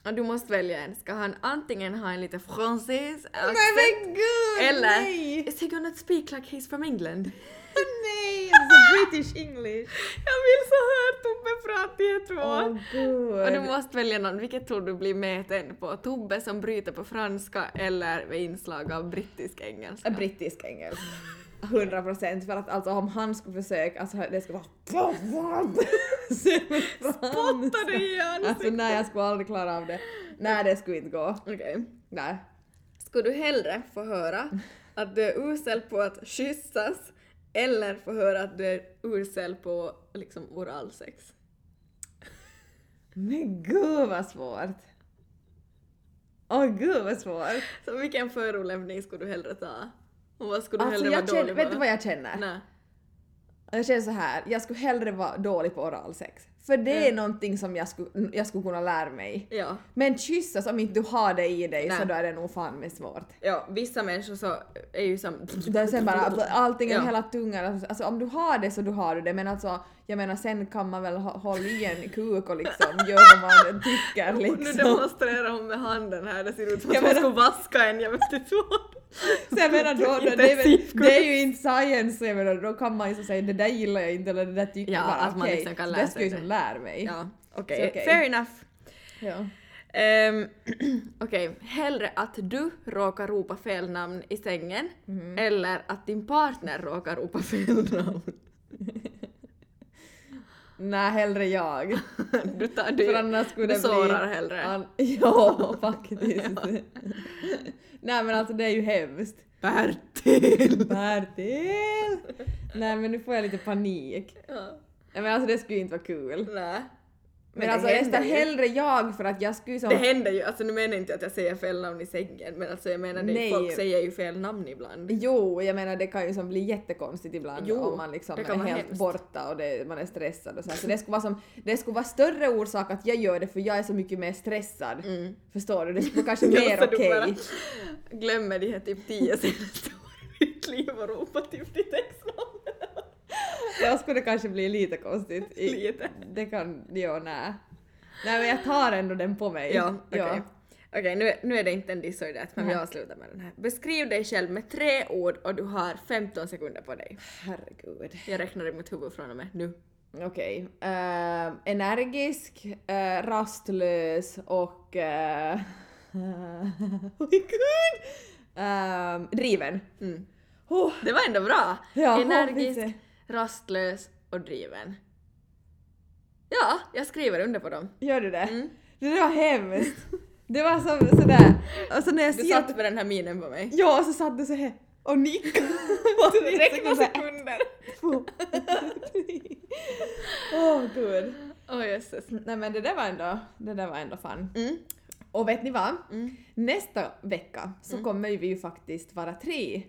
B: Och du måste välja en. Ska han antingen ha en lite fransis
A: Nej men gud!
B: eller
A: Nej!
B: is he gonna speak like he's from England?
A: Nej! Alltså British English!
B: Jag vill så höra Tobbe prata i två!
A: Åh gud!
B: Och du måste välja någon, vilket tror du blir mäten på? Tobbe som bryter på franska eller med inslag av brittisk engelska?
A: Brittisk engelsk.
B: Mm.
A: 100 procent för att alltså om han skulle försöka, alltså det skulle vara...
B: Spottar
A: Spottade
B: du i
A: Alltså
B: ansiktet?
A: nej jag skulle aldrig klara av det. Nej det skulle inte gå.
B: Okej.
A: Nej.
B: Skulle du hellre få höra att du är usel på att kyssas eller få höra att du är usel på liksom oralsex?
A: Men gud vad svårt! Åh gud vad svårt!
B: Så vilken förolämpning skulle du hellre ta? Och vad skulle du
A: Alltså
B: hellre
A: jag
B: vara
A: känner,
B: dålig på?
A: vet du vad jag känner?
B: Nej.
A: Jag känner så här, jag skulle hellre vara dålig på oralsex. För det är
B: Mm.
A: någonting som jag skulle, jag skulle kunna lära mig.
B: Ja.
A: Men kyssas, om inte du har det i dig så
B: Nej.
A: då är det nog fan med svårt.
B: ja, vissa människor så är ju som...
A: Det är sen bara allting,
B: Ja.
A: hela tungan, alltså om du har det så du har du det men alltså jag menar sen kan man väl hå- hålla i en kuk och liksom göra vad man tycker
B: Nu
A: liksom.
B: demonstrerar hon med handen här, det ser ut som att
A: Jag
B: hon
A: menar-
B: skulle vaska en, jag vet inte vad.
A: Så jag menar då, då det, är väl, det är ju inte science, jag menar, då kan man ju så säga det där gillar jag inte eller det där tycker
B: Ja,
A: jag bara
B: att man
A: okej,
B: liksom kan
A: så
B: lära
A: det skulle ju
B: sig
A: som lära mig.
B: Ja, okej.
A: Så okej.
B: Fair enough.
A: Ja.
B: Ehm, Okej, hellre att du råkar ropa fel namn i sängen eller att din partner råkar ropa fel namn.
A: Nej, hellre jag.
B: Du tar
A: För
B: du,
A: annars skulle
B: du
A: det
B: sårar
A: bli...
B: hellre.
A: An... Ja, faktiskt. Nej men alltså det är ju hemskt.
B: Bertil!
A: Bertil! Nej men nu får jag lite panik.
B: Ja.
A: Nej men alltså det skulle ju inte vara kul. Men,
B: Nej. det
A: alltså
B: händer
A: nästan
B: ju.
A: hellre jag för att jag skulle ju som...
B: Det händer ju, alltså nu menar jag inte att jag säger fel namn i sängen men alltså jag menar det,
A: Nej.
B: folk säger ju fel namn ibland.
A: Jo, jag menar det kan ju som bli jättekonstigt ibland
B: Jo,
A: om man liksom
B: det
A: är
B: kan
A: helt
B: vara hemskt.
A: borta och det, man är stressad och så, här. så det, skulle vara som, det skulle vara större orsak att jag gör det för jag är så mycket mer stressad.
B: Mm.
A: Förstår du? Det skulle vara kanske
B: Ja,
A: mer
B: så du
A: okej.
B: bara Glömmer de här typ tio senaste åren i ditt liv och ropar typ ditt exnamn.
A: Jag skulle kanske bli lite konstigt. I,
B: Lite.
A: Det kan, ja nej. Nej men jag tar ändå den på mig.
B: Ja, okej. Okej, nu, är- nu är det inte en diss or that, men vi
A: Nej.
B: avslutar med den här. Beskriv dig själv med tre ord och du har 15 sekunder på dig.
A: Herregud.
B: Jag räknar i mitt huvud från och med nu.
A: Okej. Eh, energisk, eh, rastlös och... eh, oh Oj gud! Eh, driven.
B: Mm.
A: Oh,
B: Det var ändå bra!
A: ja,
B: Energisk,
A: hoppas
B: rastlös och driven. Ja, jag skriver under på dem.
A: det. Gör du det?
B: Mm.
A: Det där var hemskt. Det var som sådär... Alltså när jag
B: Du
A: ser att...
B: satt med den här minen på mig.
A: Ja, och så satt du så här och nickade. Och så
B: Räkna
A: såhär,
B: sekunder!
A: två, tre. Åh gud.
B: Åh jösses.
A: Nej men det där var ändå, det där var ändå fan.
B: Mm.
A: Och vet ni vad?
B: Mm.
A: Nästa vecka så kommer vi ju faktiskt vara tre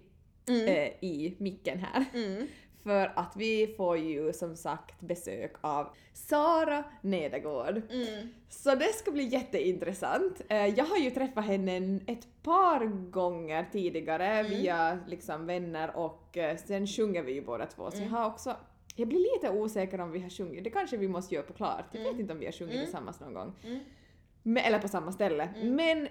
B: Mm.
A: eh, i micken här.
B: Mm.
A: För att vi får ju som sagt besök av Sara Nedergård.
B: Mm.
A: Så det ska bli jätteintressant. Eh, Jag har ju träffat henne en- ett par gånger tidigare
B: Mm.
A: via liksom vänner och eh, sen sjunger vi ju båda två så jag
B: Mm.
A: har också jag blir lite osäker om vi har sjungit, det kanske vi måste göra på klart. Jag vet inte om vi har sjungit tillsammans någon gång.
B: Mm.
A: Men, eller på samma ställe. Men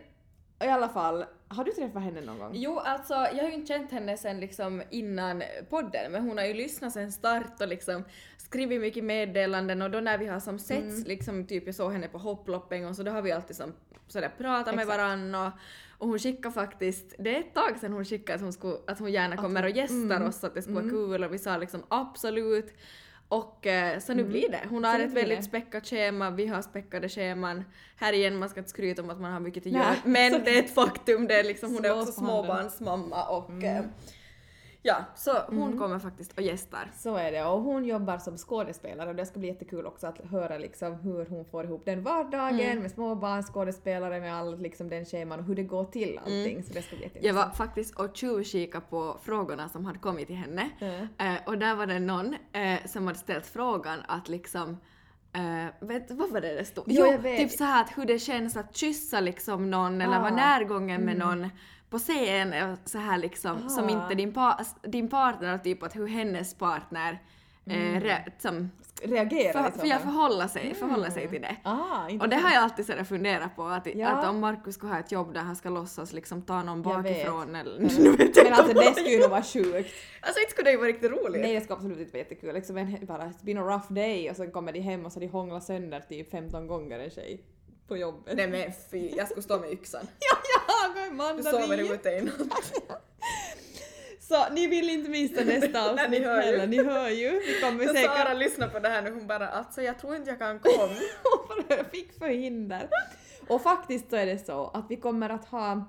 A: i alla fall, har du träffat henne någon gång?
B: Jo, alltså jag har ju inte känt henne sen liksom innan podden, men hon har ju lyssnat sen start och liksom skrivit mycket meddelanden och då när vi har som
A: Mm.
B: setts, liksom typ jag såg henne på hopplopp en gång, så då har vi alltid som sådär pratat med
A: Exakt.
B: varann och, Och hon skickade faktiskt, det är ett tag sedan hon skickade att hon, skulle, att hon gärna kommer och gästar
A: mm,
B: oss att det skulle
A: mm.
B: vara kul och vi sa liksom absolut. Och eh, så nu blir det. Hon har
A: Mm. Så nu
B: ett
A: blir
B: väldigt
A: det.
B: späckat schema, vi har späckade scheman. Här igen, man ska inte skryta om att man har mycket att
A: Nej,
B: göra. Men det är ett faktum, det är liksom, hon är
A: Slå
B: också
A: på handen.
B: småbarnsmamma och
A: Mm.
B: eh, ja, så hon kommer faktiskt och gästar.
A: Så är det och hon jobbar som skådespelare och det ska bli jättekul också att höra liksom hur hon får ihop den vardagen med småbarn, skådespelare med all liksom den scheman och hur det går till allting. Så det ska bli
B: Jag
A: jätteintressant.
B: var faktiskt och tjuvkika på frågorna som hade kommit till henne.
A: Mm.
B: Eh, och där var det någon eh, som hade ställt frågan att liksom eh, vet, vad var det det stod?
A: Jo, jag vet.
B: typ så här att hur det känns att kyssa liksom någon eller vara
A: Ah.
B: närgången med någon på scen eh, så här liksom som
A: Ah.
B: inte din, pa- din partner och typ att hur hennes partner eh, re- som,
A: Reagera
B: för,
A: Mm. liksom.
B: för, ja, förhålla, sig, förhålla sig till det.
A: Ah,
B: Och
A: intressant.
B: det har jag alltid sådär funderat på att,
A: Ja.
B: att om Markus skulle ha ett jobb där han ska låtsas liksom ta någon
A: Jag vet.
B: bakifrån eller... Nu vet jag
A: Men alltså
B: inte om
A: det skulle ju nog vara sjukt.
B: Alltså inte skulle det ju vara riktigt roligt.
A: Nej det skulle absolut inte vara jättekul. Liksom en, bara, it's been a rough day och sen kommer de hem och så de hånglar sönder typ 15 gånger en tjej på jobbet.
B: Nej men fy, jag skulle stå med yxan.
A: ja, Ah, men
B: Du
A: mandarin!
B: sover ute i något.
A: Så ni vill inte missa nästa
B: Nej, ni
A: avsnitt
B: hör ju.
A: heller, ni hör ju. Vi kommer
B: Men
A: säkert...
B: Sara lyssnar på det här nu, hon bara alltså jag tror inte jag kan komma.
A: Vad jag fick för hinder. Och faktiskt så är det så att vi kommer att ha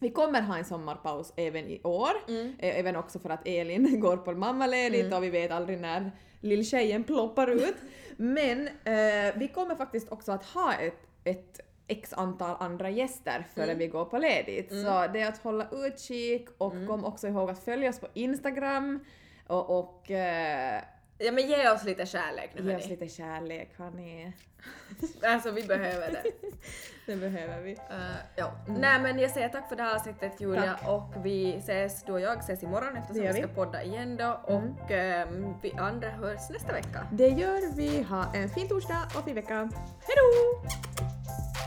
A: vi kommer ha en sommarpaus även i år,
B: Mm.
A: Eh, även också för att Elin går på mammaledigt och vi vet aldrig när lilltjejen ploppar ut. Men eh, vi kommer faktiskt också att ha ett, ett x antal andra gäster före vi går på ledigt. Så det är att hålla utkik och kom också ihåg att följa oss på Instagram och, och eh,
B: Ja men ge oss lite kärlek nu
A: ge oss
B: hörni.
A: lite kärlek hörni.
B: Alltså vi behöver det.
A: Det behöver vi.
B: Eh, ja. Nej men jag säger tack för det här avsnittet Julia
A: Tack.
B: och vi ses, du och jag ses imorgon eftersom
A: Det
B: vi
A: gör
B: ska
A: vi. Mm.
B: podda igen då och ehm, vi andra hörs nästa vecka.
A: Det gör vi. Ha en fin torsdag och fin vecka. Hejdå!